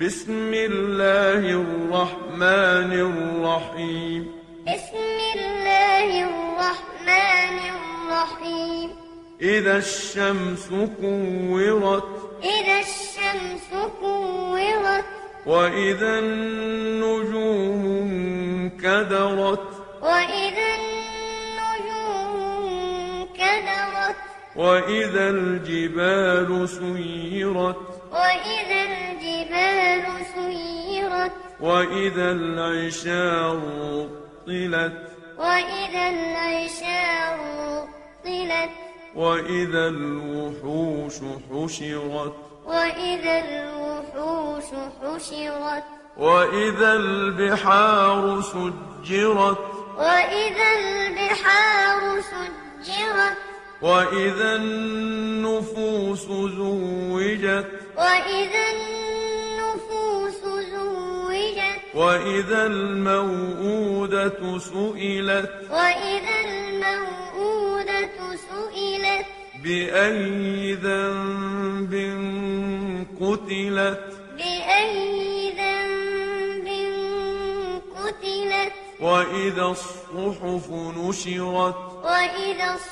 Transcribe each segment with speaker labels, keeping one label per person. Speaker 1: بسم الله الرحمن الرحيم
Speaker 2: بسم الله الرحمن الرحيم
Speaker 1: إذا الشمس كورت
Speaker 2: إذا الشمس كورت
Speaker 1: وإذا النجوم انكدرت
Speaker 2: وإذا النجوم انكدرت
Speaker 1: وإذا الجبال سيرت
Speaker 2: وإذا الجبال سيرت
Speaker 1: وإذا العشار طلت
Speaker 2: وإذا العشار طلت
Speaker 1: وإذا الوحوش حشرت
Speaker 2: وإذا الوحوش حشرت
Speaker 1: وإذا البحار سجرت
Speaker 2: وإذا البحار سجرت
Speaker 1: وإذا النفوس زوجت
Speaker 2: وإذا النفوس زوجت
Speaker 1: وإذا الموءودة سئلت
Speaker 2: وإذا الموءودة سئلت
Speaker 1: بأي ذنب قتلت
Speaker 2: بأي ذنب قتلت
Speaker 1: وإذا الصحف نشرت
Speaker 2: وإذا الصحف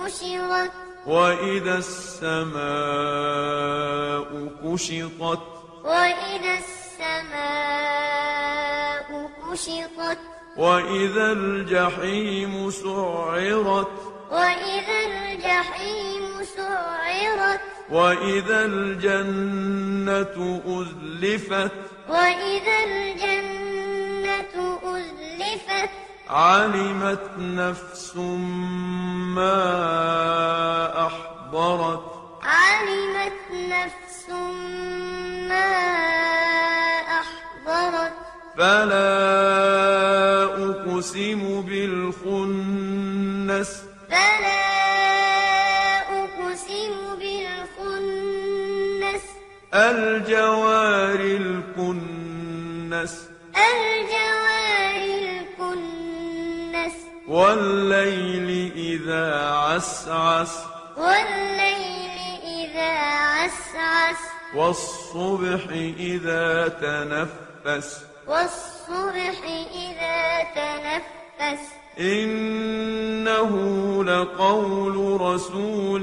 Speaker 2: نشرت
Speaker 1: وإذا السماء كشطت
Speaker 2: وإذا السماء كشطت
Speaker 1: وإذا الجحيم سعرت
Speaker 2: وإذا الجحيم سعرت
Speaker 1: وإذا الجنة أزلفت
Speaker 2: وإذا الجنة أزلفت
Speaker 1: علمت نفس ما أحضرت
Speaker 2: علمت نفس ما أحضرت
Speaker 1: فلا أقسم بالخنس
Speaker 2: فلا أقسم بالخنس
Speaker 1: الجوار الكنس
Speaker 2: الجوار الكنس
Speaker 1: والليل إذا عسعس
Speaker 2: والليل إذا عسعس
Speaker 1: والصبح إذا تنفس
Speaker 2: والصبح إذا تنفس
Speaker 1: إنه لقول رسول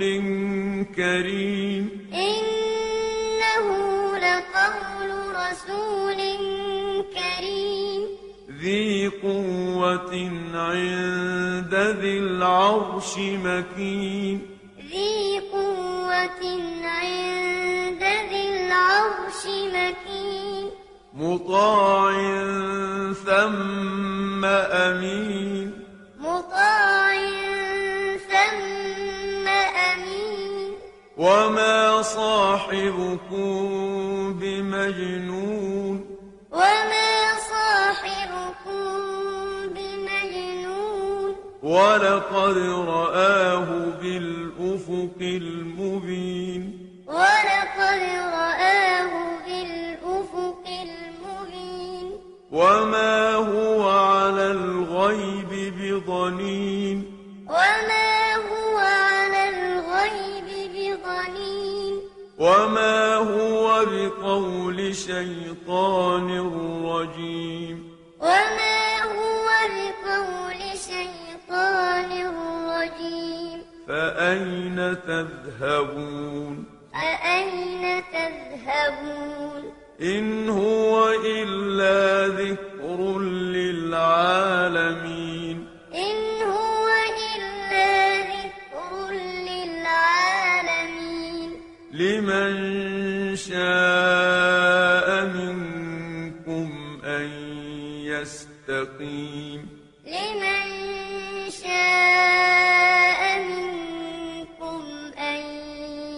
Speaker 1: كريم
Speaker 2: إنه لقول رسول كريم
Speaker 1: ذي قوة عند ذي العرش مكين
Speaker 2: ذي قوة عند ذي العرش مكين
Speaker 1: مطاع ثم أمين
Speaker 2: مطاع ثم أمين
Speaker 1: وما صاحبكم بمجنون
Speaker 2: وما صاحبكم بمجنون
Speaker 1: ولقد رآه بالأفق المبين
Speaker 2: ولقد رآه بالأفق المبين
Speaker 1: وما هو على الغيب بضنين
Speaker 2: وما هو على الغيب بضنين
Speaker 1: وما هو بقول شيطان رجيم
Speaker 2: وما هو بقول شيطان رجيم
Speaker 1: فأين تذهبون
Speaker 2: فأين تذهبون
Speaker 1: إن هو إلا ذكر للعالمين
Speaker 2: إن هو إلا ذكر للعالمين
Speaker 1: لمن شاء منكم أن يستقيم
Speaker 2: لمن شاء منكم أن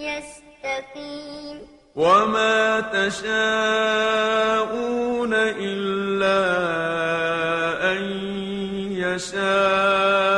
Speaker 2: يستقيم
Speaker 1: وما تشاءون إلا أن يشاء